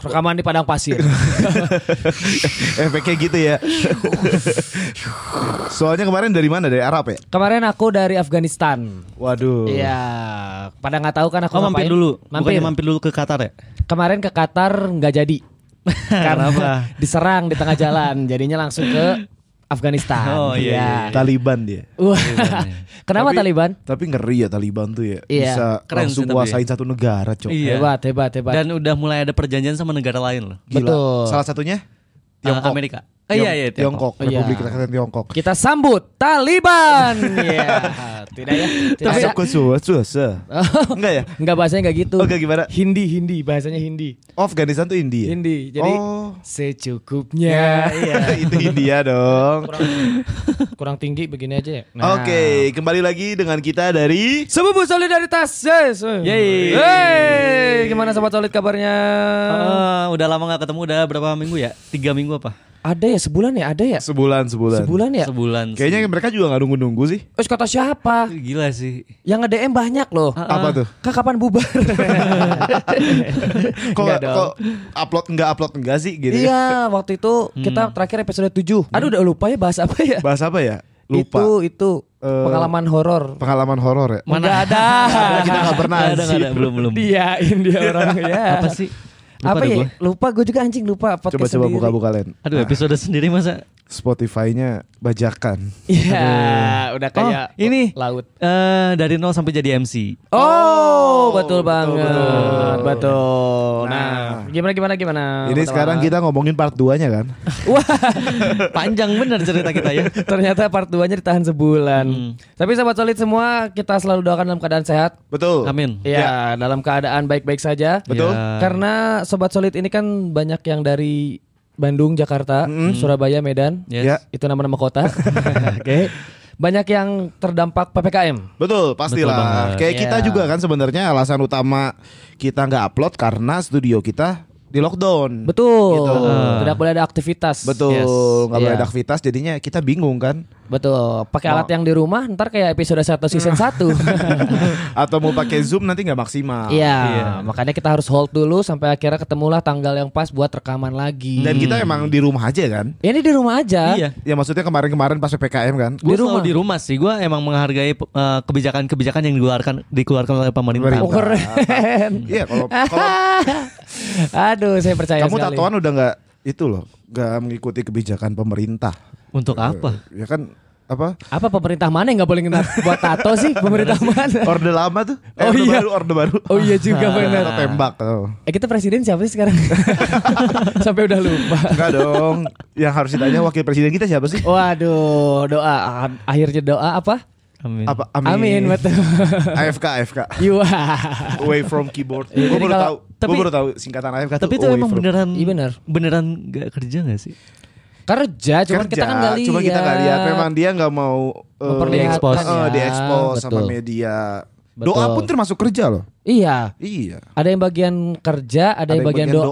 Rekaman di padang pasir. Efeknya gitu ya. Soalnya kemarin dari mana? Dari Arab ya? Kemarin aku dari Afghanistan. Waduh. Iya, pada nggak tahu kan aku Oh mampir ngapain. dulu, Mampir. bukannya mampir dulu ke Qatar ya? Kemarin ke Qatar nggak jadi. Kenapa? Karena diserang di tengah jalan, jadinya langsung ke Afghanistan. Oh, Iya. iya, iya, Taliban dia. Wah, Kenapa Tapi- Taliban? Tapi ngeri ya Taliban tuh ya. Iya, Bisa keren langsung sih tapi nguasain satu negara, Cok. Iya. Hebat, hebat, hebat. Dan udah mulai ada perjanjian sama negara lain loh. Gila. Betul. Salah satunya Eh, Tiongkok. Amerika. Eh, iya iya Tiongkok, Iya. Republik Rakyat Tiongkok. kita sambut Taliban. Iya. Tidak ya. Tidak Tapi ada. aku suas suasa. Enggak ya? Enggak bahasanya enggak gitu. Oke, gimana? Hindi, Hindi, bahasanya Hindi. Afghanistan tuh Iya. India. Hindi. Jadi Oh. Ya, secukupnya. itu India dong. kurang, kurang tinggi begini aja ya. Oke, kembali lagi dengan kita dari Sebubu solidaritas. Yes. Yeay. Yeay. Gimana sobat solid kabarnya? Uh, Eh, udah lama nggak ketemu, udah berapa minggu ya? Tiga minggu apa? ada ya sebulan ya, ada ya? sebulan sebulan. Sebulan ya? Sebulan. Iya. Kayaknya mereka juga nggak nunggu-nunggu sih. Terus kata siapa? Gila sih. Yang nge-DM banyak loh. Uh-uh. Apa tuh? Kak kapan bubar? Kok, Enggak dong. kok upload enggak upload enggak sih gitu. ya? Iya, waktu itu kita terakhir episode 7. Aduh udah lupa ya bahas apa ya? Bahas apa ya? Lupa. Itu itu Eh, pengalaman horor. Pengalaman horor ya? Enggak ada. kita nggak pernah Iya. Nggak ada, nggak ada, sih. belum belum. Diain dia orang ya. Apa sih? Lupa apa deh ya? gua. Lupa gue juga anjing lupa podcast Coba coba sendiri. buka-buka len. Nah, Aduh episode sendiri masa? Spotify-nya bajakan. Iya, udah kayak Oh, ini. laut. Eh dari nol sampai jadi MC. Oh, betul banget. betul. Betul. Nah, Nah. gimana gimana gimana? Ah, Ini sekarang kita ngomongin part 2-nya kan. Wah, Panjang bener cerita kita ya. ternyata part 2-nya ditahan sebulan. Hmm. Tapi sahabat solid semua, kita selalu doakan dalam keadaan sehat. Betul. Amin. Ya, dalam keadaan baik-baik saja. Betul. Ya. Karena sobat solid ini kan banyak yang dari Bandung, Jakarta, Surabaya, Medan. Yes. Hmm. Ya. Itu nama-nama kota. Oke. Banyak yang terdampak Hmm. PPKM. Betul, pastilah. banget. Kayak kita Iya. juga kan sebenarnya alasan utama kita nggak upload karena studio kita di lockdown. Betul. Gitu. Tidak boleh ada aktivitas. Betul, Ah. Yes. nggak boleh Iya. ada aktivitas jadinya kita bingung kan. Betul. Nah. Pakai alat yang di rumah ntar kayak episode 1 season 1. Atau mau pakai Zoom nanti nggak maksimal. Iya, Iya. makanya kita harus hold dulu sampai akhirnya ketemulah tanggal yang pas buat rekaman lagi. Dan Hmm. kita emang di rumah aja kan. ini di rumah aja. Iya. Ya maksudnya kemarin-kemarin pas PPKM kan. Gue Di rumah. selalu di rumah sih. Gue emang menghargai eh, kebijakan-kebijakan yang dikeluarkan dikeluarkan oleh pemerintah. Oh, keren. Iya, kalau kalau Aduh, saya percaya kamu sekali. tatoan udah nggak itu loh, nggak mengikuti kebijakan pemerintah. Untuk apa? Ya kan apa? Apa pemerintah mana yang nggak boleh ngetat buat tato sih? Pemerintah mana? Orde lama tuh. Eh, Oh orde iya. baru, orde baru. Oh iya juga Atau benar. tembak. Oh. Eh kita presiden siapa sih sekarang? sampai udah lupa. Enggak dong. Yang harus ditanya wakil presiden kita siapa sih? Waduh, doa akhirnya doa apa? Amin. Apa? Amin, betul. AFK, AFK. Iya. Away from keyboard. Iya, Gue jadi baru kalau- tahu. Gue tapi- baru tahu singkatan AFK Tapi itu away emang from. beneran Iya, bener. beneran gak kerja gak sih? Kerja, cuman Kerja, kita kan nggak lihat. Cuma kita nggak lihat. Memang dia nggak mau eh, Memperlihatkan diekspos. ya. Eh, diekspos sama Betul. media. Betul. Doa pun termasuk kerja loh. Iya. Iya. Ada yang bagian kerja, ada, yang bagian, doa. gitu.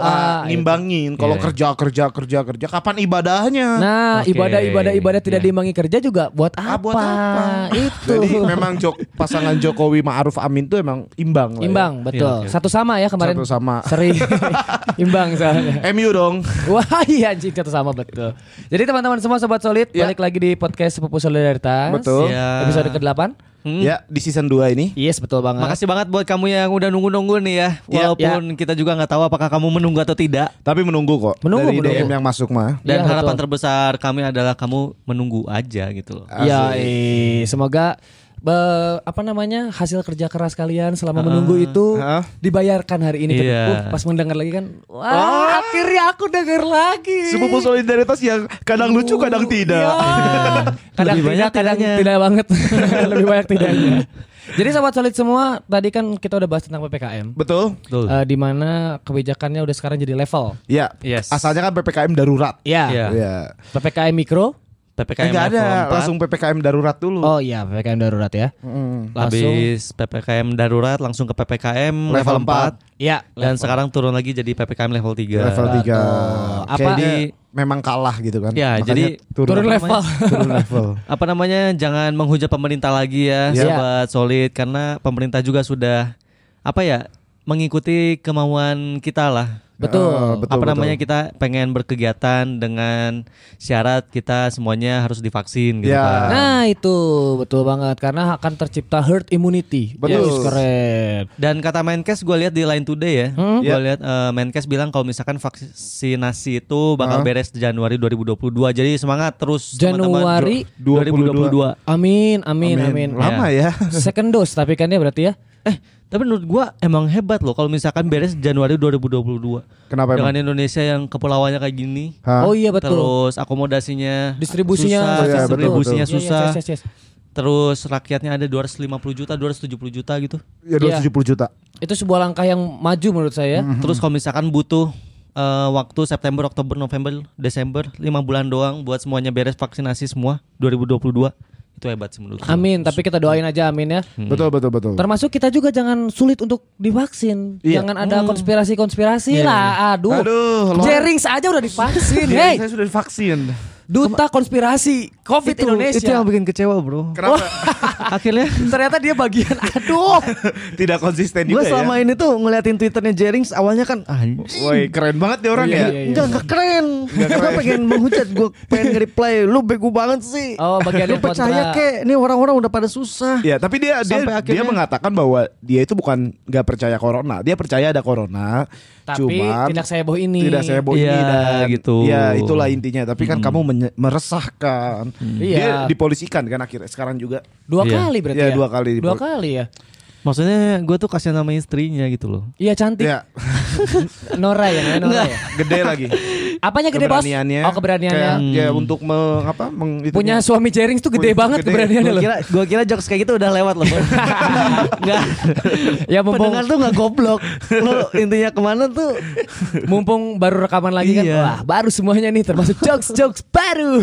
nimbangin. Kalau Iya. kerja, kerja, kerja, kerja. Kapan ibadahnya? Nah, Oke. ibadah-ibadah ibadah tidak Iya. diimbangi kerja juga buat apa? Ah, buat apa? Itu. Jadi memang jok, pasangan Jokowi Ma'ruf Amin tuh emang imbang lah ya. Imbang, betul. Iya, oke. Satu sama ya kemarin. Satu sama. Seri. Imbang soalnya. MU dong. Wah iya anjing satu sama betul. Jadi teman-teman semua sobat solid Ya. balik lagi di podcast Sepupu Solidaritas. Betul. Ya. Episode ke-8. Hmm. Ya, di season 2 ini. Yes, betul banget. Makasih banget buat kamu yang udah nunggu-nunggu nih ya. Iya, Walaupun kita juga nggak tahu apakah kamu menunggu atau tidak. Tapi menunggu kok. Menunggu, Dari menunggu. DM yang masuk mah. Dan Iya, harapan betul. terbesar kami adalah kamu menunggu aja gitu loh. Ya, eh, semoga be- apa namanya hasil kerja keras kalian selama menunggu itu Ah. dibayarkan hari ini. Iya. Ah. Uh, pas mendengar lagi kan, wah akhirnya aku dengar lagi. Sepupu solidaritas yang kadang lucu, kadang tidak. Iya. kadang Lebih tidak, banyak kadang tidaknya. tidak banget. Lebih banyak tidaknya. Jadi sobat solid semua, tadi kan kita udah bahas tentang ppkm, Betul. Betul. eh, di mana kebijakannya udah sekarang jadi level. Ya. Yes. Asalnya kan ppkm darurat. Ya, Iya. Ya. ppkm mikro. PPKM Enggak level ada. 4, Langsung ppkm darurat dulu. Oh iya, ppkm darurat ya. Langsung. habis PPKM darurat langsung ke PPKM level, Level 4. Ya. Dan sekarang turun lagi jadi PPKM level 3. Level 3 Iya. Apa- Iya, Kayaknya memang kalah gitu kan. Ya, Makanya jadi turun, Turun level. level. turun level. apa namanya? Jangan menghujat pemerintah lagi ya, Iya. sobat solid karena pemerintah juga sudah apa ya? mengikuti kemauan kita lah. Betul. Eh, apa namanya betul. kita pengen berkegiatan dengan syarat kita semuanya harus divaksin gitu Ya. Pak. Nah itu betul banget karena akan tercipta herd immunity. Betul. Yes, keren. Dan kata Menkes gue lihat di Line Today ya, Hmm. gue lihat eh, Menkes bilang kalau misalkan vaksinasi itu Hah? bakal beres Januari 2022. Jadi semangat terus teman-teman. Januari. Dua- 2022. Amin, amin, amin. Iya. Lama ya. Second dose tapi kan ya berarti ya. Eh, tapi menurut gua emang hebat loh kalau misalkan beres Januari 2022. Kenapa Dengan emang? Indonesia yang kepulauannya kayak gini. Hah? Ya, Oh iya betul. Terus akomodasinya Distribusinya susah, Oh, iya, betul, Iya, distribusinya iya, susah. yes, yes, yes. Terus rakyatnya ada 250 juta, 270 juta gitu. iya. Ya 270 juta. Itu sebuah langkah yang maju menurut saya. ya. Hmm. Terus kalau misalkan butuh eh, waktu September, Oktober, November, Desember 5 bulan doang buat semuanya beres vaksinasi semua 2022 itu hebat sih menurut gua. Amin, tapi kita doain aja amin ya. Betul betul betul. Termasuk kita juga jangan sulit untuk divaksin. Iya. Jangan ada konspirasi-konspirasi lah. Aduh. Aduh, lo- Jerings aja udah divaksin. Uh, Iya, hey, Saya sudah divaksin. duta konspirasi COVID Itu, Indonesia. itu yang bikin kecewa bro. Kenapa? Akhirnya Ternyata dia bagian. Aduh. Tidak konsisten gue juga ya. selama ini tuh ngeliatin twitternya Jerings awalnya kan anjing. Woi, keren banget nih orang Iya, ya. iya, iya. Enggak, enggak keren. Gue pengen menghujat, gue pengen nge-reply. Lu bego banget sih. Oh, bagian Lu yang percaya kontra. kek, nih orang-orang udah pada susah. Ya, tapi dia dia, Sampai dia akhirnya- mengatakan bahwa dia itu bukan nggak percaya corona, dia percaya ada corona. Tapi cuman tidak seheboh ini. Tidak seheboh Iya, ini dan gitu. Ya, itulah intinya. Tapi kan kamu menye- meresahkan. Dia Iya. dipolisikan kan akhirnya sekarang juga. Dua Iya. kali berarti Iya, ya. dua kali. Dua kali ya. Maksudnya gue tuh kasihan sama istrinya gitu loh. Iya cantik. Ya, Nora ya, namanya Nah. Nora ya. gede lagi. Apanya gede bos? keberaniannya. Oh keberaniannya. Kayak, ya untuk mengapa meng, itunya. Punya suami Jerings tuh gede Punya- banget gede. keberaniannya Gue loh. kira, gua kira jokes kayak gitu udah lewat loh. Bang. Enggak. Ya mumpung Pendengar tuh nggak goblok. Lo intinya kemana tuh? mumpung baru rekaman lagi kan. Iya. Wah, baru semuanya nih termasuk jokes-jokes baru.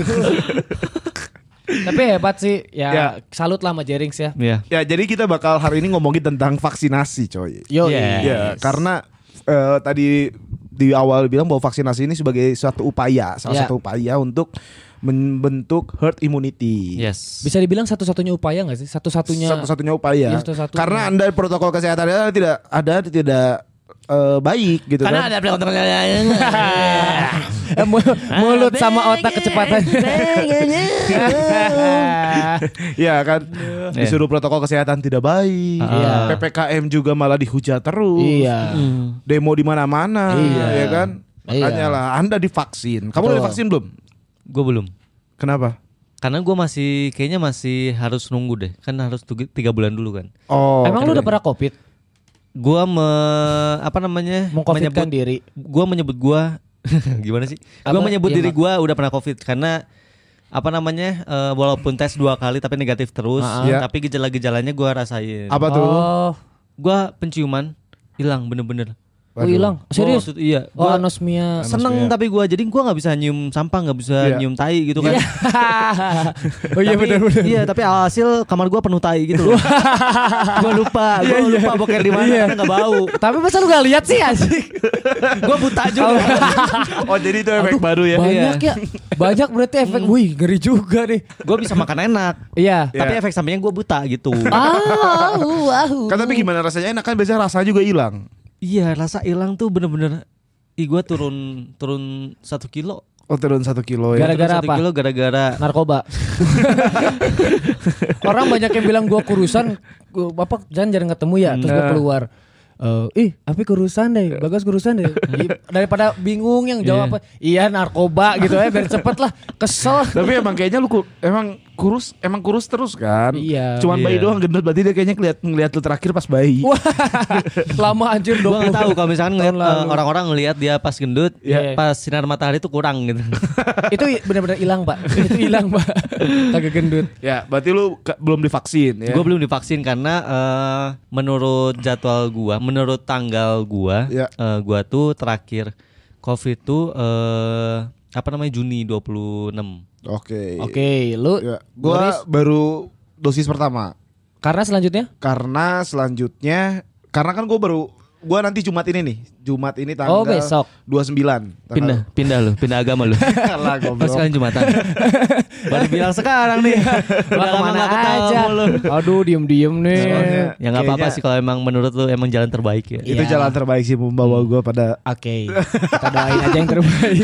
Tapi hebat sih ya, Ya. salut lah sama Jerings ya. Iya. Ya, jadi kita bakal hari ini ngomongin tentang vaksinasi, coy. Yo. Yes. Ya, karena eh, tadi di awal bilang bahwa vaksinasi ini sebagai suatu upaya, Ya. salah satu upaya untuk membentuk herd immunity. Yes. Bisa dibilang satu-satunya upaya gak sih? Satu-satunya Satu-satunya upaya. Iya, satu-satunya. Karena Anda protokol kesehatan Anda tidak ada tidak eh, baik gitu kan. ada Eh, mu- mulut sama otak kecepatannya. ya kan disuruh protokol kesehatan tidak baik. Iya. PPKM juga malah dihujat terus. iya. Demo di mana-mana, Iya. ya kan? Makanya Iya. lah Anda divaksin. Kamu udah Betul. divaksin belum? Gue belum. Kenapa? Karena gue masih kayaknya masih harus nunggu deh. Kan harus tugi- tiga bulan dulu kan. Oh. Emang lu udah pernah covid? Gue me apa namanya? Mengcovidkan menyebut- diri. gua menyebut gua gimana sih? Gua Apa? menyebut Iya, diri Mak. gua udah pernah covid karena apa namanya? eh, walaupun tes dua kali tapi negatif terus, Ah, Iya. tapi gejala-gejalanya gua rasain. apa tuh? Oh, Gua penciuman hilang bener-bener. oh, hilang. Gua Serius? maksud- iya. Oh, Gua anosmia. seneng tapi gua jadi gua nggak bisa nyium sampah, nggak bisa Iya. nyium tai gitu kan. oh iya Tapi- benar-benar. Iya, tapi alhasil kamar gua penuh tai gitu loh. gua lupa, Iya, gua lupa boker di mana karena nggak bau. Tapi masa lu gak lihat sih asik? Gua buta juga. Iya, Oh jadi itu efek baru ya? Banyak ya. Banyak berarti efek. Wih, ngeri juga nih. gua bisa makan enak. Hmm. Iya. Tapi efek sampingnya gua buta gitu. Ah, uh, ah, uh. Kan tapi gimana rasanya enak kan biasanya rasanya juga hilang. Iya rasa hilang tuh bener-bener Ih gue turun turun satu kilo Oh turun satu kilo ya. Gara- Turun satu apa? Nah, kilo gara-gara narkoba. Orang banyak yang bilang gua kurusan, gua, Bapak jangan jarang ketemu ya, terus gua keluar. Eh, ih, tapi kurusan deh, bagus kurusan deh. Ih, Daripada bingung yang jawab apa, iya narkoba gitu ya, biar cepet lah, kesel. tapi emang kayaknya lu ku- emang kurus emang kurus terus kan. Iya. Cuman bayi Iya. doang gendut berarti dia kayaknya ngeliat ngeliat lu terakhir pas bayi. Wah, lama anjir Gue dong. gak tahu kalau misalkan ngeliat, Tahun lalu. eh, orang-orang ngelihat dia pas gendut Iya. Pas sinar matahari tuh kurang gitu Itu benar-benar hilang pak, itu hilang pak, kagak gendut. Ya berarti lu ke- belum divaksin ya. Gue belum divaksin karena eh, menurut jadwal gua Menurut tanggal gua Iya. eh, Gua tuh terakhir covid tuh eh, Apa namanya Juni 26 Oke. Oke, lu Ya, Gua Boris, baru dosis pertama karena selanjutnya karena selanjutnya karena kan gue baru gua nanti Jumat ini nih. Jumat ini Oh, tanggal besok. 29. Tanggal. Pindah, pindah lu, pindah agama lu. Alah, Pas goblok. kan Jumatan. Baru bilang sekarang nih. Udah Lah lama kemana gak ketemu aja? lu. Aduh diem-diem nih. Soalnya Ya nggak apa-apa kayaknya sih kalau emang menurut lu emang jalan terbaik ya. Itu Iya. jalan terbaik sih membawa gua pada Oke, kita doain aja yang terbaik.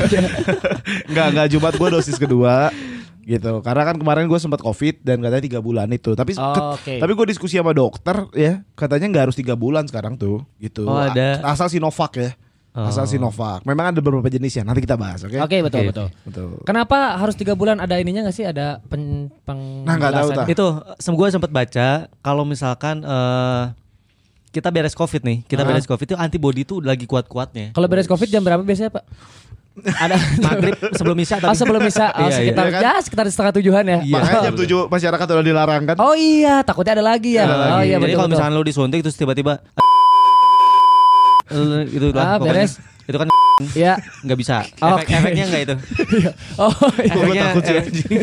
Enggak, enggak Jumat gue dosis kedua gitu. Karena kan kemarin gue sempat Covid dan katanya tiga bulan itu. Tapi Oh, ket- oke. tapi gue diskusi sama dokter ya, katanya nggak harus tiga bulan sekarang tuh gitu. Oh, ada. A- Asal Sinovac ya. Asal Oh. Sinovac. Memang ada beberapa jenisnya. Nanti kita bahas, oke? Oke, betul Oke. betul. Betul. Kenapa harus tiga bulan ada ininya gak sih? Ada pen, peng Nah, nggak tahu, penjelasan? Tah. Itu gue sempat baca kalau misalkan eh, kita beres covid nih, kita beres covid itu antibody tuh lagi kuat-kuatnya. Kalau beres covid jam berapa biasanya pak? Ada Maghrib sebelum isya Oh tapi sebelum bisa oh, Iya, iya. sekitar Iya kan? ya sekitar setengah tujuhan ya. Iya. Makanya jam 7 masyarakat udah dilarang kan? Oh iya takutnya ada lagi ya. Ada Oh lagi. iya Jadi betul. kalau betul. misalkan lu disuntik terus tiba-tiba eh, gitu Ah, lah pokoknya. beres. Itu kan ya. nggak bisa. Efek, Oke. efeknya nggak itu. Oh iya. Gua Efeknya- takut sih eh, anjing.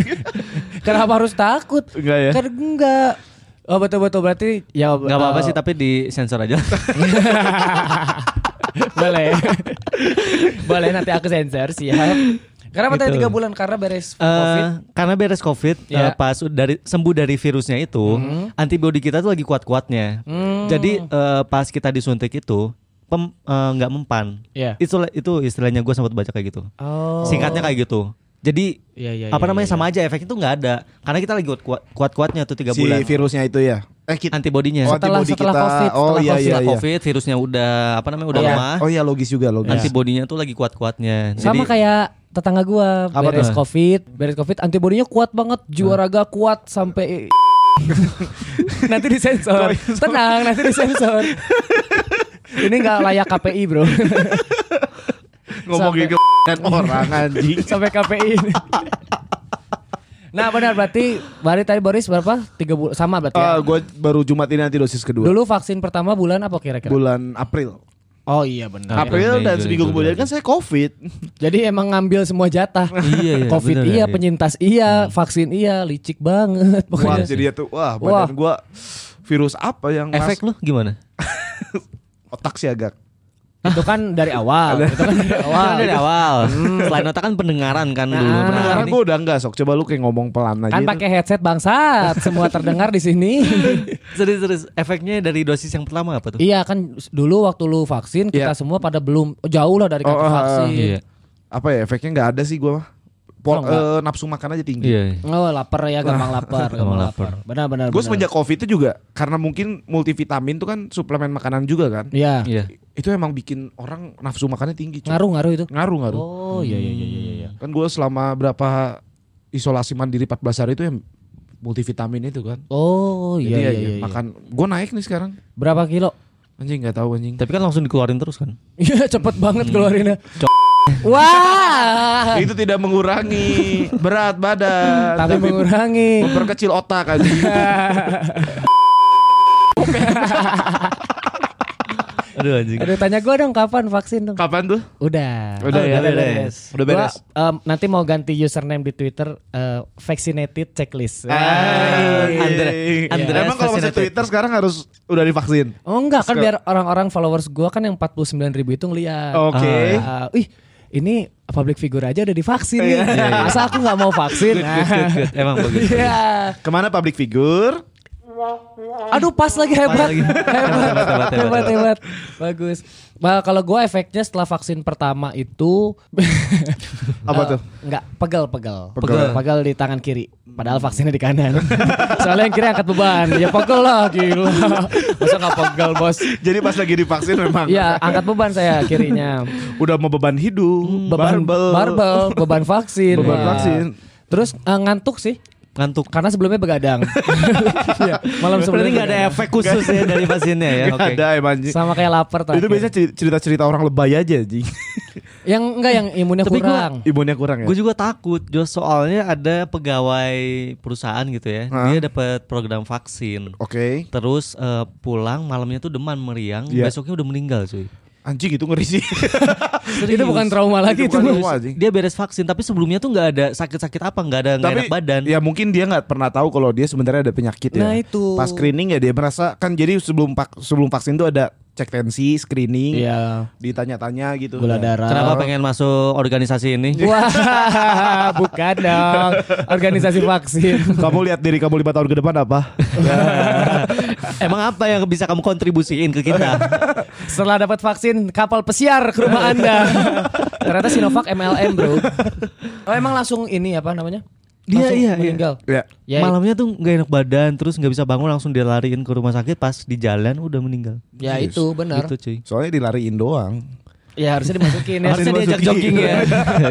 kenapa harus takut? Enggak Iya. ya? Kan enggak. Oh betul betul berarti ya Gak apa-apa eh, sih tapi di sensor aja. boleh. boleh nanti aku sensor sih ya. Kenapa tadi Gitu. tiga bulan karena beres Eh, covid. karena beres covid Ya. eh, pas dari sembuh dari virusnya itu Hmm. antibodi kita tuh lagi kuat-kuatnya. Jadi eh, pas kita disuntik itu pem- eh, nggak mempan. Iya. Itu itu istilahnya gue sempat baca kayak gitu. Oh. Singkatnya kayak gitu. Jadi Iya, iya, apa iya, namanya iya, sama aja efeknya tuh nggak ada karena kita lagi kuat- kuat-kuatnya tuh tiga Si bulan. virusnya itu ya. Eh, kita Antibodinya. Oh, Setelah- antibody setelah kita. COVID, oh setelah COVID, iya ya. iya Setelah iya. covid virusnya udah apa namanya udah Oh, iya. lemah. Oh iya logis juga logis. Antibodinya tuh lagi kuat-kuatnya. Sama Jadi- kayak tetangga gua Apa beres tuh? covid, beres covid antibodinya kuat banget, juaraga kuat sampai nanti disensor. Tenang, nanti disensor. Ini nggak layak KPI bro, Ngomongin ke orang anjing. sampai KPI. nah benar berarti Bari tadi Boris berapa? Tiga bulan sama berarti. Ah, Ya? Oh, gue baru Jumat ini nanti dosis kedua. Dulu vaksin pertama bulan apa kira-kira? Bulan April. Oh iya benar. April Mei, dan Juni, seminggu Juli, kemudian kan saya covid Jadi emang ngambil semua jatah. Iya, iya, Covid ya, benar, iya, iya. penyintas Nah. iya, vaksin iya, licik banget Wah pokoknya. jadi itu Wah badan Wah. gua Virus apa yang efek lu gimana? mas- Otak sih agak itu kan dari awal, itu kan dari awal. Karena dari awal. Selain otak kan pendengaran kan dulu. Nah, Hmm. Pendengaran ini- gua udah enggak sok Coba lu kayak ngomong pelan aja Kan itu. pakai headset bangsat, semua terdengar di sini. Serius serius efeknya dari dosis yang pertama apa tuh? iya kan dulu waktu lu vaksin kita Iya. semua pada belum jauh lah dari kata Oh, ah, vaksin. Apa ya efeknya enggak ada sih gua mah Pol- Oh, enggak. eh, Nafsu makan aja tinggi Iya. Oh lapar ya gampang lapar, gampang Gampang lapar. Benar-benar. Gue benar. semenjak covid itu juga Karena mungkin multivitamin tuh kan Suplemen makanan juga kan Iya. Iya. Itu emang bikin orang Nafsu makannya tinggi cuy. Ngaruh ngaruh itu. Ngaruh ngaruh Oh iya iya iya iya. iya. Kan gua selama berapa Isolasi mandiri 14 hari itu yang Multivitamin itu kan Oh iya Jadi iya, ya, iya, iya. Makan Gue naik nih sekarang Berapa kilo? Anjing nggak tahu anjing. Tapi kan langsung dikeluarin terus kan. Iya cepet Hmm. banget keluarinnya. Wah. Itu tidak mengurangi berat badan, Tapi tapi, mengurangi. memperkecil otak aja. Aduh anjing. Aduh tanya gua dong kapan vaksin dong? Kapan tuh? Udah. Udah ya? Oh, beres. Udah beres. Gua, em, nanti mau ganti username di Twitter eh, vaccinated checklist. Ah. Anjing. Andre- Andreas Iya. Emang kalau masih vaccinated. Twitter sekarang harus udah divaksin. Oh enggak kan Suka. biar orang-orang followers gua kan yang 49 ribu itu ngeliat. Oke. Ah, ih ini public figure aja udah divaksin nih. Masa aku nggak mau vaksin? Iya, Good, good, good. Emang bagus. Iya. Kemana public figure? Aduh pas lagi hebat. lagi. Hebat, Hebat, hebat, hebat, hebat, hebat, hebat. Bagus. Bah, kalau gua efeknya setelah vaksin pertama itu Apa Eh, tuh? Enggak, pegel-pegel. Pegel. Pegel di tangan kiri. Padahal vaksinnya di kanan. Soalnya yang kiri angkat beban. Ya pegel lah gila. Masa enggak pegel, Bos? Jadi pas lagi divaksin memang Iya, angkat beban saya kirinya. udah mau beban hidup, Hmm, Beban barbel, beban vaksin. Beban Wah. vaksin. Terus eh, ngantuk sih Ngantuk. karena sebelumnya begadang. Iya, malam Berarti sebelumnya nggak ada begadang. efek khusus ya dari vaksinnya ya. Nggak Oke. ada emang. anjing. Sama kayak lapar tadi. Itu biasanya ceri- cerita-cerita orang lebay aja, anjing. Yang enggak yang imunnya Tapi gua- kurang. Imunnya Iya. kurang ya. Gue juga takut, Jos. Soalnya ada pegawai perusahaan gitu ya. Hah? Dia dapat program vaksin. Oke. Terus eh, pulang malamnya tuh demam meriang, Iya. besoknya udah meninggal cuy. Anjing itu ngeri sih. Itu bukan trauma lagi Itu itu. bukan Bos. trauma, anjing. Dia beres vaksin tapi sebelumnya tuh nggak ada sakit-sakit apa, nggak ada nggak enak badan. iya. ya mungkin dia nggak pernah tahu kalau dia sebenarnya ada penyakit ya. Nah, itu. Pas screening ya dia merasa kan jadi sebelum pak sebelum vaksin itu ada cek tensi, screening, Iya. ditanya-tanya gitu. Gula darah. kan. Kenapa pengen masuk organisasi ini? Iya. Wah, bukan dong. Organisasi vaksin. Kamu lihat diri kamu lima tahun ke depan apa? Emang apa yang bisa kamu kontribusiin ke kita? Setelah dapat vaksin kapal pesiar ke rumah Anda. Ternyata Sinovac MLM, Bro. Oh, emang langsung ini apa namanya? Iya, Langsung iya, iya. meninggal. ya. Ya, Malamnya tuh nggak enak badan, terus nggak bisa bangun langsung dilariin ke rumah sakit pas di jalan udah meninggal. ya itu benar. Gitu cuy. Soalnya dilariin doang. Ya harusnya dimasukin ya. Harusnya diajak dimasukin. jogging ya.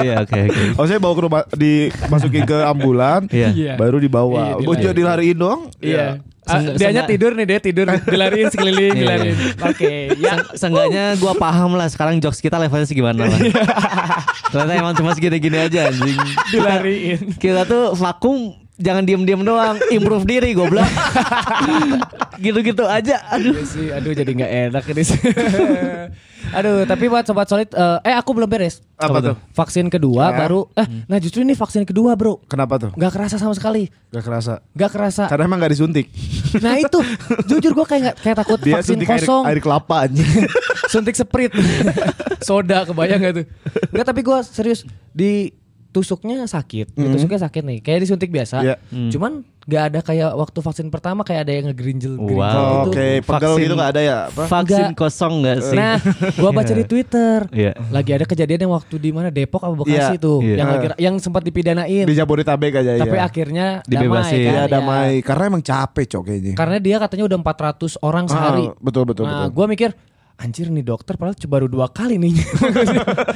Iya oke oke. Oh saya bawa ke rumah dimasukin ke ambulan, Iya. Iya. baru Iya, dibawa. Gue dilariin. juga dilariin doang. Iya. Ah, Seng- dianya senga- tidur nih dia tidur dilariin sekeliling Iya. dilariin. Oke, ya. Seng- Seenggaknya gue paham lah sekarang jokes kita levelnya segimana lah. Iya. Ternyata emang cuma segini-gini aja anjing. Dilariin. Kita tuh vakum jangan diem-diem doang, improve diri goblok. Gitu-gitu aja. Aduh. Iya sih, aduh jadi nggak enak ini sih. aduh, tapi buat sobat solid, eh, eh aku belum beres. Apa tuh? Vaksin kedua Ya. baru. Eh, nah justru ini vaksin kedua bro, Kenapa tuh? nggak kerasa sama sekali, Gak kerasa. nggak kerasa. Karena emang gak disuntik. Nah itu, jujur gue kayak nggak- kayak takut Dia vaksin suntik air, kosong, air kelapa anjing. suntik seprit, soda kebayang gak tuh? Nggak, tapi gue serius di tusuknya sakit, Hmm. ditusuknya sakit nih, kayak disuntik biasa. Iya. Hmm. Cuman nggak ada kayak waktu vaksin pertama kayak ada yang ngegerinjel, gerinjel Wow. gitu. Oke, pegel Vaksin. gitu gak ada ya? Apa? Vaksin Nggak. kosong nggak Iya sih? Nah, gua baca di Twitter. Iya. Lagi ada kejadian yang waktu di mana Depok apa Bekasi Iya, tuh, iya. yang lagi yang sempat dipidanain, Di Jabodetabek aja ya. tapi akhirnya damai kan. Dibebasin. Iya ya. damai. Karena emang capek cok kayaknya. Karena dia katanya udah 400 orang Ah, sehari. betul, betul, Nah, betul. gua mikir anjir nih dokter padahal cuma baru dua kali nih.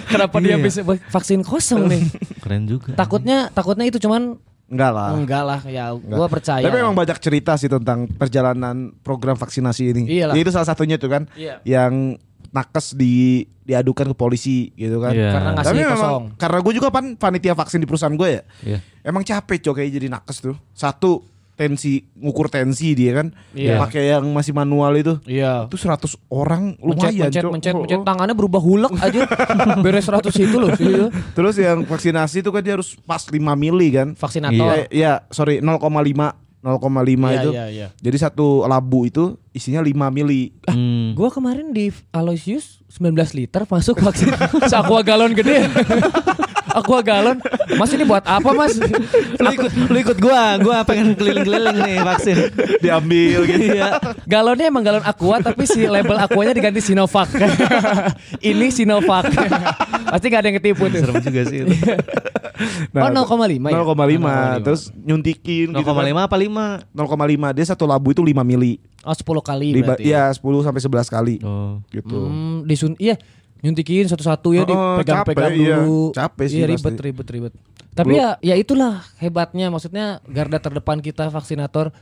Kenapa dia Iya. bisa vaksin kosong nih? Keren juga. takutnya takutnya itu cuman Enggak lah. enggak lah ya gua percaya. Ah. Tapi memang banyak cerita sih tentang perjalanan program vaksinasi ini. Iyalah. Ya, itu salah satunya tuh kan, Iya. yang nakes di diadukan ke polisi gitu kan. Iya. karena ngasih Tapi memang kosong. karena gue juga pan panitia vaksin di perusahaan gue ya. Iya. Emang capek cok kayak jadi nakes tuh. Satu tensi ngukur tensi dia kan, Iya. pakai yang masih manual itu. Iya. Itu 100 orang Mencet, lumayan mencet, Cok. mencet, Oh, mencet, oh. tangannya berubah hulek aja. Beres 100 itu loh. Iya. Terus yang vaksinasi itu kan dia harus pas 5 mili kan. Vaksinator. Eh, ya, sorry 0,5 0,5 Iya, itu. iya, iya. Ah, Jadi satu labu itu isinya 5 mili. Hmm. Gua kemarin di Aloysius 19 liter masuk vaksin seakua galon gede. aqua galon. Mas ini buat apa mas? Nah, Lu ikut, lu ikut gua, gua pengen keliling-keliling nih vaksin. Diambil gitu. Iya. Galonnya emang galon aqua tapi si label aquanya diganti Sinovac. ini Sinovac. Pasti gak ada yang ketipu tuh. Iya, Serem juga sih itu. Gitu. Oh, Nah, 0,5 ya? 0,5. Terus nyuntikin gitu kan. 0,5 apa 5? 0,5 dia satu labu itu 5 mili. Oh 10 kali Diba- berarti. ya 10 sampai 11 kali. Oh. Gitu. Hmm, disun iya nyuntikin satu-satu ya Oh, oh, dipegang-pegang capek, iya. dulu. Capek sih Iya, ribet, pasti. ribet, ribet. Tapi ya ya itulah hebatnya maksudnya garda terdepan kita vaksinator.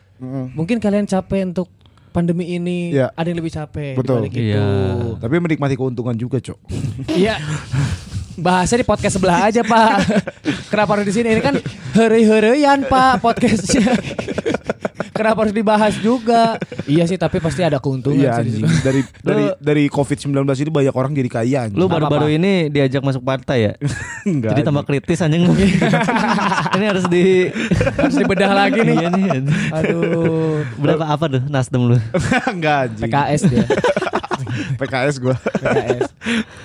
Mungkin kalian capek untuk pandemi ini, Iya. ada yang lebih capek Betul. dibanding itu. Iya. Tapi menikmati keuntungan juga, Cok. Iya. Bahasa di podcast sebelah aja, Pak. Kenapa harus di sini? Ini kan hore-horean, Pak, podcastnya. Kenapa harus dibahas juga? Iya sih, tapi pasti ada keuntungan Iya, sih di anjing. situ. Dari dari dari COVID-19 ini banyak orang jadi kaya anjing. Lu baru-baru ini diajak masuk partai ya? Enggak, Jadi tambah kritis anjing lu. ini harus di Harus dibedah lagi nih. Iya nih. anjing. Aduh. Berapa apa tuh Nasdem lu? Enggak anjing. PKS dia. PKS gua. PKS.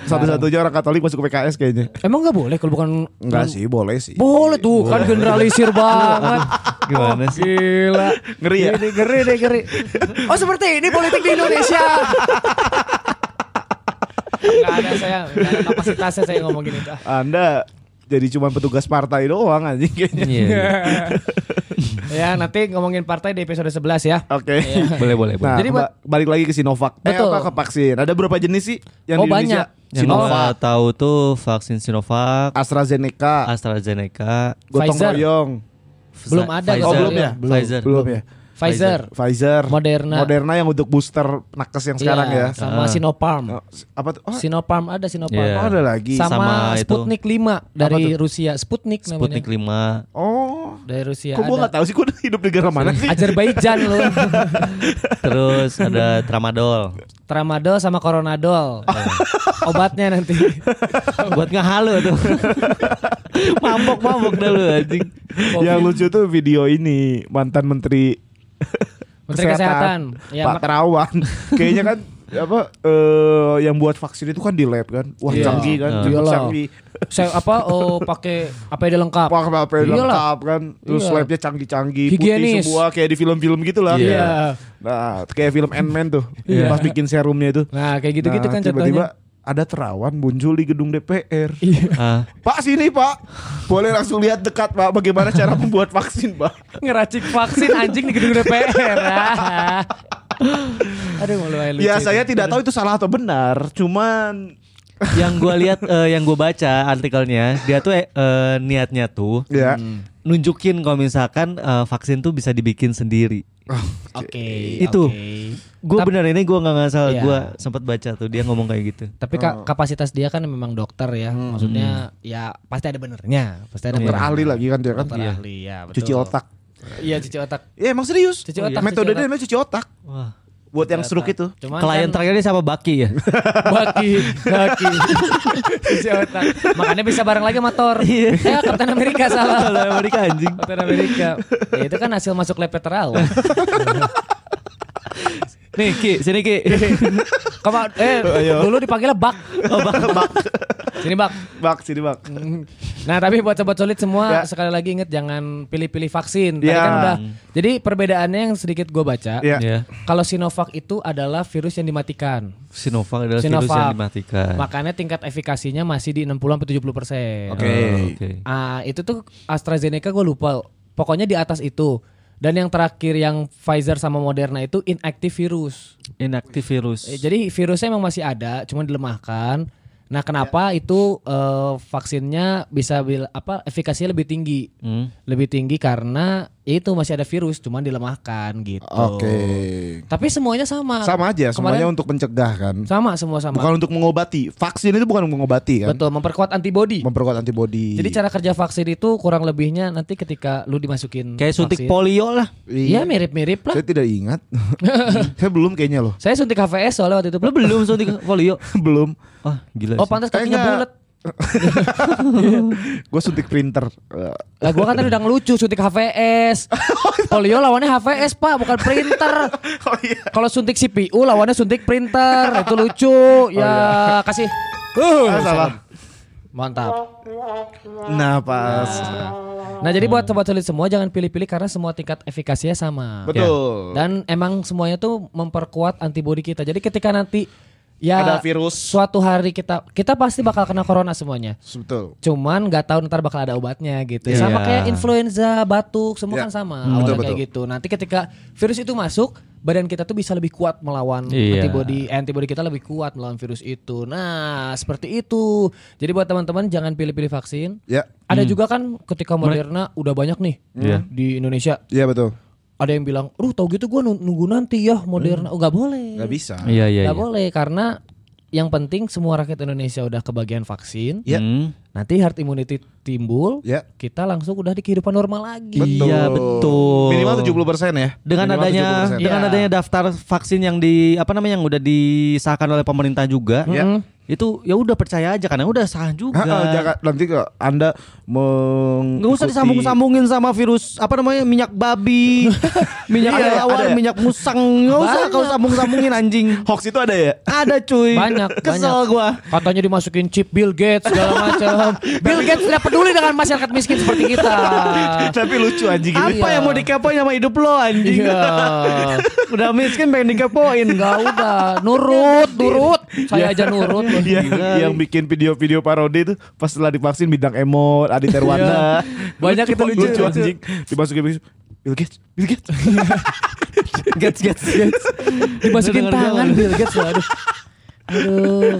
Satu-satunya orang Katolik masuk ke PKS kayaknya. Emang nggak boleh kalau bukan Enggak sih, Iya, boleh sih. boleh tuh kan generalisir banget. Gimana sih? Gila. Ngeri ya? Ini ngeri deh ngeri. Oh seperti ini politik di Indonesia. Gak ada saya, gak ada kapasitasnya saya ngomongin itu. Anda jadi cuma petugas partai doang anjing kayaknya. Iya. iya. ya nanti ngomongin partai di episode 11 ya. Oke. iya. Boleh boleh boleh. Nah, Jadi buat- ba- balik lagi ke Sinovac. Eh, Betul. apa ke vaksin? Ada berapa jenis sih Oh, yang di Indonesia? banyak. Yang gua Sinovac, tahu tuh vaksin Sinovac, AstraZeneca, AstraZeneca, gotong Pfizer. royong. Belum ada Pfizer. Oh, Pfizer, belum iya. ya? Belum. Pfizer. Belum ya? Pfizer, Pfizer, Moderna. Moderna yang untuk booster nakes yang sekarang Iya, ya. Sama Sinopharm. Oh, s- Apa tuh? Oh, Sinopharm ada Sinopharm. Iya. ada lagi. Sama, Sama itu. Sputnik 5 dari Rusia. Sputnik namanya. Sputnik 5. Oh. Dari Rusia. Kok gua Iya, ada. gak tahu sih gua hidup di negara mana sih? Azerbaijan lu. Terus ada tramadol. Tramadol sama Coronadol. Obatnya nanti. buat ngehalu tuh mabok mabok dah lu anjing yang lucu tuh video ini mantan menteri Menteri Kesehatan. Ya, Pak mak- Terawan kayaknya kan apa eh, yang buat vaksin itu kan di lab kan. Wah, Iya. canggih kan, cukup Iyalah. canggih. Saya apa eh, pakai APD lengkap. Pakai HP Iyalah. lengkap kan, terus Iya. labnya canggih-canggih, putih Higienis. semua kayak di film-film gitu lah. Iya. Nah, kayak film Ant-Man tuh, Iya. pas bikin serumnya itu. Nah, kayak gitu-gitu Nah, kan tiba-tiba contohnya. ada terawan muncul di gedung DPR. Iya. Ah, Pak sini Pak, boleh langsung lihat dekat Pak, bagaimana cara membuat vaksin Pak. Ngeracik vaksin anjing di gedung DPR. Ah. Aduh, malu aja lucu Ya itu. saya tidak tahu itu salah atau benar, cuman yang gua lihat eh, yang gua baca artikelnya dia tuh eh, eh, niatnya tuh ya. Hmm. nunjukin kalau misalkan eh, vaksin tuh bisa dibikin sendiri. Oke. Iya, Itu. oke. Gue Tap- benar ini gue nggak ngasal Iya. gue sempat baca tuh dia ngomong kayak gitu. Tapi Oh. ka- kapasitas dia kan memang dokter ya. Maksudnya ya pasti ada benernya, pasti ada Hmm. Dokter benernya. ahli lagi kan dia kan. Dokter ahli ya, betul. Cuci otak. Iya, cuci otak. Ya emang serius. Cuci otak, cuci Metode dia otak. namanya cuci otak. Wah. Buat yang gitu. stroke itu. Cuman Klien kan- terakhirnya siapa Baki ya? Baki, baki. Cuci otak. Makanya bisa bareng lagi motor. Iya. ya, Kapten Amerika Kalau salah. Amerika anjing. Kapten Amerika. Ya, itu kan hasil masuk lab terawan. Nih Ki, sini Ki. Kema eh dulu dipanggilnya bak. bak. Sini bak. Bak sini bak. Nah tapi buat sobat solid semua Ya. sekali lagi inget jangan pilih-pilih vaksin. Tadi Ya. kan udah. Jadi perbedaannya yang sedikit gue baca. Ya. Ya. Kalau Sinovac itu adalah virus yang dimatikan. Sinovac adalah virus Sinovac. yang Eh. dimatikan. Makanya tingkat efikasinya masih di 60-70 persen. Oke. Oh, oke. Ah, itu tuh AstraZeneca gue lupa. Pokoknya di atas itu. Dan yang terakhir yang Pfizer sama Moderna itu inactive virus. Inactive virus. Eh, Jadi virusnya emang masih ada, cuma dilemahkan. Nah, kenapa Ya. itu eh, vaksinnya bisa bil- apa efikasinya lebih tinggi? Hmm. Lebih tinggi karena ya itu masih ada virus, cuma dilemahkan gitu. Oke. Tapi semuanya sama. Oh. Sama aja semuanya Kemarin- untuk mencegah kan. sama semua sama. Bukan untuk mengobati. Vaksin itu bukan mengobati kan. Betul, memperkuat antibodi. Memperkuat antibodi. Jadi cara kerja vaksin itu kurang lebihnya nanti ketika lu dimasukin Hmm. Kayak suntik vaksin. polio lah. Iya mirip-mirip lah. Saya tidak ingat. saya belum kayaknya loh. Saya suntik HVS soalnya waktu itu. Lu belum suntik polio. belum. Wah gila. Oh sih. pantas kakinya enggak. bulat. Gue suntik printer. Eh, Lah gua kan tadi udah ngelucu suntik HVS. Polio lawannya HVS, Pak, bukan printer. Oh iya. Kalau suntik CPU lawannya suntik printer. Itu lucu. Ya kasih. Uh, Ah, salah. Mantap. Nah pas. Nah, jadi buat sobat sulit semua jangan pilih-pilih karena semua tingkat efikasinya sama. Betul. Dan emang semuanya tuh memperkuat antibodi kita. Jadi ketika nanti ya Ada virus. suatu hari kita kita pasti bakal kena corona semuanya. Betul. Cuman nggak tahu ntar bakal ada obatnya gitu. Iya. Sama kayak influenza, batuk, semua Iya. kan sama. Hmm. Awalnya Betul, kayak gitu. Nanti ketika virus itu masuk, badan kita tuh bisa lebih kuat melawan Iya. antibody. Eh, antibody kita lebih kuat melawan virus itu. Nah, seperti itu. Jadi buat teman-teman jangan pilih-pilih vaksin. Ya. Ada juga kan ketika Moderna udah banyak nih Hmm. Iya. di Indonesia. Iya betul. Ada yang bilang, "Ruh, tau gitu gua nun- nunggu nanti ya Moderna." Oh, nggak boleh. Gak bisa. Iya iya. Nggak iya. boleh karena yang penting semua rakyat Indonesia udah kebagian vaksin. Ya. Hmm. Nanti herd immunity timbul, Ya. kita langsung udah di kehidupan normal lagi. Betul. Iya, betul. Minimal 70% ya. dengan Minimal adanya 70%. dengan Ya. adanya daftar vaksin yang di apa namanya yang udah disahkan oleh pemerintah juga Ya. itu ya udah percaya aja karena udah sah juga Ha-ha, jangan- nanti kalau Anda meng nggak usah disambung-sambungin sama virus apa namanya minyak babi minyak Iya, kelelawar ada ya? minyak musang nggak usah kau sambung-sambungin anjing Hoax itu ada ya? ada cuy Banyak, kesel banyak. gua Katanya dimasukin chip Bill Gates segala macam. Bill Gates tidak peduli dengan masyarakat miskin seperti kita. Ah. Tapi lucu anjing apa gitu. Iya. yang mau dikepoin sama hidup lo anjing Iya. udah miskin pengen dikepoin Enggak udah nurut, nurut. Saya aja nurut. Yang, yang bikin video-video parodi itu pas setelah divaksin bidang emot, Adi Terwana. Iya. Banyak itu lucu. Iya. lucu anjing. Dimasukin bis- Bill Gates, Bill Gates. gets gets gets Dimasukin Dengar dia, tangan waduh. Bill Gates aduh. Aduh.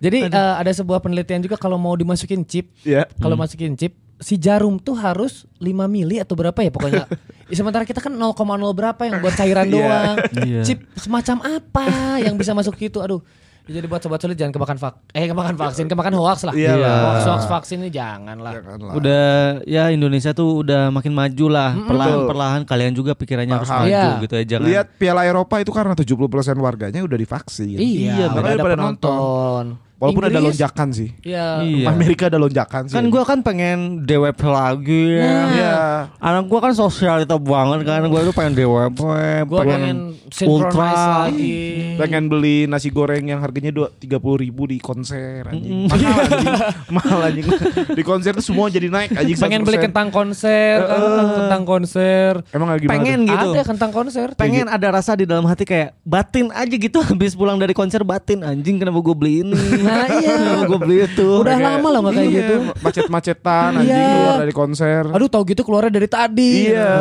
Jadi eh, ada sebuah penelitian juga kalau mau dimasukin chip, ya. kalau masukin chip si jarum tuh harus 5 mili atau berapa ya pokoknya. Ya, Sementara kita kan 0,0 berapa yang buat cairan Iya. doang. Iya. Chip semacam apa yang bisa masuk gitu? Aduh. Ya, Jadi buat sobat sulit jangan kemakan vak eh kemakan vaksin, kemakan hoax lah. Iya lah. Hoax hoax vaksin ini jangan lah. Janganlah. udah ya Indonesia tuh udah makin maju lah Betul. perlahan-perlahan kalian juga pikirannya harus Paham. maju Iya. gitu ya jangan Lihat Piala Eropa itu karena 70% warganya udah divaksin. Iya, Iya, udah makanya ada pada penonton. Walaupun ada Inggris. lonjakan sih. Iya. Iya. Amerika ada lonjakan sih. Kan gue kan pengen DWP lagi ya. Nah. Iya. Anak gue kan sosialita banget kan. Gue tuh pengen DWP, Gue pengen synchronize lagi. pengen beli nasi goreng yang harganya dua tiga puluh ribu di konser anjing mahal anjing mahal anjing di konser tuh semua jadi naik anjing Pengen beli 100%. kentang konser, kan, kentang konser. emang lagi Pengen gitu. Ada ya kentang konser. pengen ada rasa di dalam hati kayak batin aja gitu habis pulang dari konser batin anjing kenapa gue beli ini Nah, iya. kenapa gue beli itu Udah lama loh nggak kayak Iya, gitu. macet-macetan anjing Iya. keluar dari konser Aduh tahu gitu keluarnya dari tadi. Iya.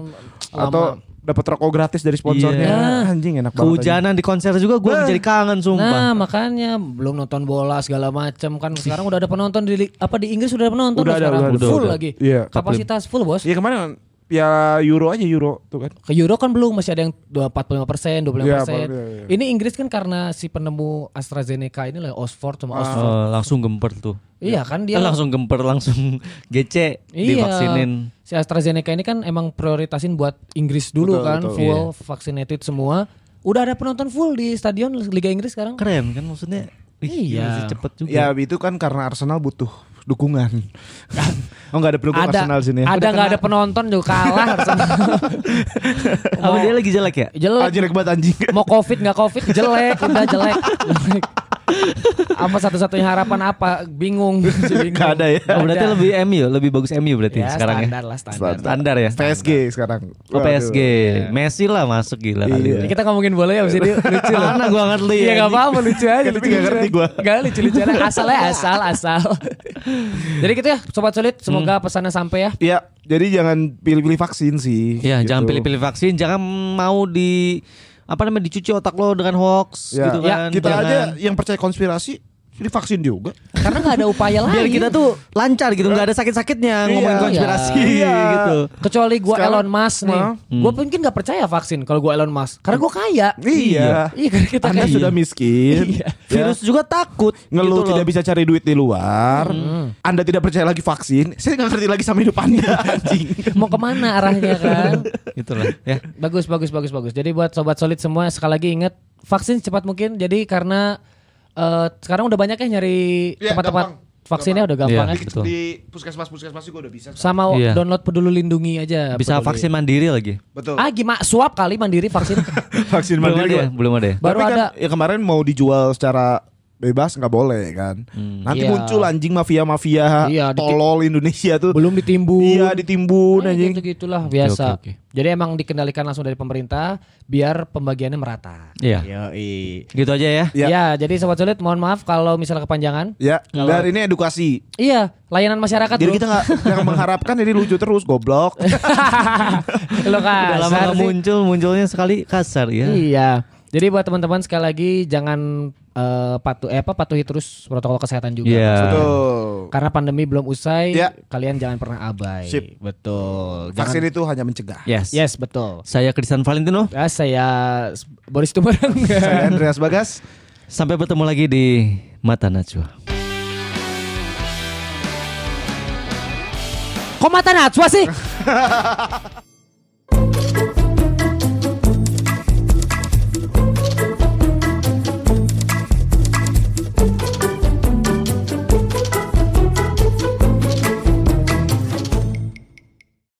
Hmm, atau lama. dapat rokok gratis dari sponsornya Ah, Iya. anjing enak banget anjing. kehujanan di konser juga gue jadi Nah kangen sumpah makanya belum nonton bola segala macem kan sekarang udah ada penonton di li- apa di Inggris udah ada penonton loh Udah ada, sekarang udah ada, full udah ada. lagi Iya. kapasitas full bos Iya kemarin ya Euro aja Euro tuh kan ke Euro kan belum masih ada yang 45 persen 25 Iya, persen iya, iya. ini Inggris kan karena si penemu AstraZeneca ini lah Oxford Ah. sama Oxford Eh, langsung gemper tuh iya kan dia Eh, langsung gemper langsung gece Iya. divaksinin Si AstraZeneca ini kan emang prioritasin buat Inggris dulu Betul, kan, betul. Iya. full vaccinated semua. Udah ada penonton full di stadion Liga Inggris sekarang. keren kan maksudnya Ih, Iya. masih cepet juga ya itu kan karena Arsenal butuh dukungan oh nggak ada pendukung Ada Arsenal sini ya ada nggak ada penonton juga kalah Arsenal. apa dia lagi jelek ya Ah, jelek. jelek banget anjing Mau covid nggak covid jelek, udah jelek. Jelek. Apa satu-satunya harapan apa? Bingung. Nggak ada ya. Oh, berarti lebih MU lebih bagus MU berarti ya, sekarang ya standar lah standar. standar ya PSG sekarang Oh, Waduh. PSG Messi lah masuk gila kali Iya. ini. Kita ngomongin bola ya abis ini lucu loh. Mana gua ngerti. Iya gak apa-apa lucu aja Tapi lucu nggak ya, ngerti gua. Gak lucu lucu aja asal ya asal asal. Jadi gitu ya sobat sulit semoga Hmm. pesannya sampai ya. Iya, jadi jangan pilih-pilih vaksin sih. Iya, Ya, gitu. jangan pilih-pilih vaksin, jangan mau di apa namanya dicuci otak lo dengan hoax Ya, gitu Ya, kan. Kita Jangan. aja yang percaya konspirasi divaksin juga. Karena nggak ada upaya lain. biar kita tuh lancar gitu, nggak ada sakit-sakitnya ngomongin Iya. konspirasi Iya. gitu. kecuali gua Sekarang- Elon Musk nih. Nah. Gua mungkin nggak percaya vaksin kalau gua Elon Musk karena gua kaya. Iya. Iya karena kita Anda kaya. sudah miskin. Iya. ya. Virus juga takut ngeluh gitu tidak bisa cari duit di luar. Hmm. Anda tidak percaya lagi vaksin. Saya nggak ngerti lagi sama hidup Anda anjing. Mau kemana arahnya kan? Itulah ya. bagus bagus bagus bagus. Jadi buat sobat solid semua sekali lagi ingat vaksin cepat mungkin. Jadi karena eh, sekarang udah banyak ya nyari Iya, tempat-tempat gampang. vaksinnya udah gampang Iya. ya. Betul. Di puskesmas-puskesmas juga udah bisa. Sama Iya. download peduli lindungi aja. eh, Bisa Peduli. vaksin mandiri lagi. Betul. Ah gimana suap kali mandiri vaksin vaksin Belum ada mandiri. ya? Belum ada ya? baru Tapi kan, ada ya kemarin mau dijual secara bebas nggak boleh kan. Nanti Iya. muncul anjing mafia-mafia Iya, di- tolol Indonesia tuh. belum ditimbun Iya ditimbun anjing. gitu gitulah biasa. oke, oke. Jadi emang dikendalikan langsung dari pemerintah biar pembagiannya merata. Iya. Yoi. Gitu aja ya. Ya. Iya, jadi sobat sulit mohon maaf kalau misalnya kepanjangan. Ya, Kalau- dan ini edukasi. Iya, layanan masyarakat bro. Jadi kita nggak jangan mengharapkan ini lucu terus goblok. Iya. Lo Udah kasar lama nggak sih. muncul, munculnya sekali kasar ya. Iya. Jadi buat teman-teman sekali lagi jangan eh, patuh eh, apa patuhi terus protokol kesehatan juga. Iya. Betul. Karena pandemi belum usai, Iya. kalian jangan pernah abai. Sip. Betul. Jangan- Vaksin itu hanya mencegah. Yes. Yes, betul. Saya Kristian Valentino. Ya, saya Boris Tumorang. Saya Andreas Bagas. Sampai bertemu lagi di Mata Najwa. Komatan Najwa sih.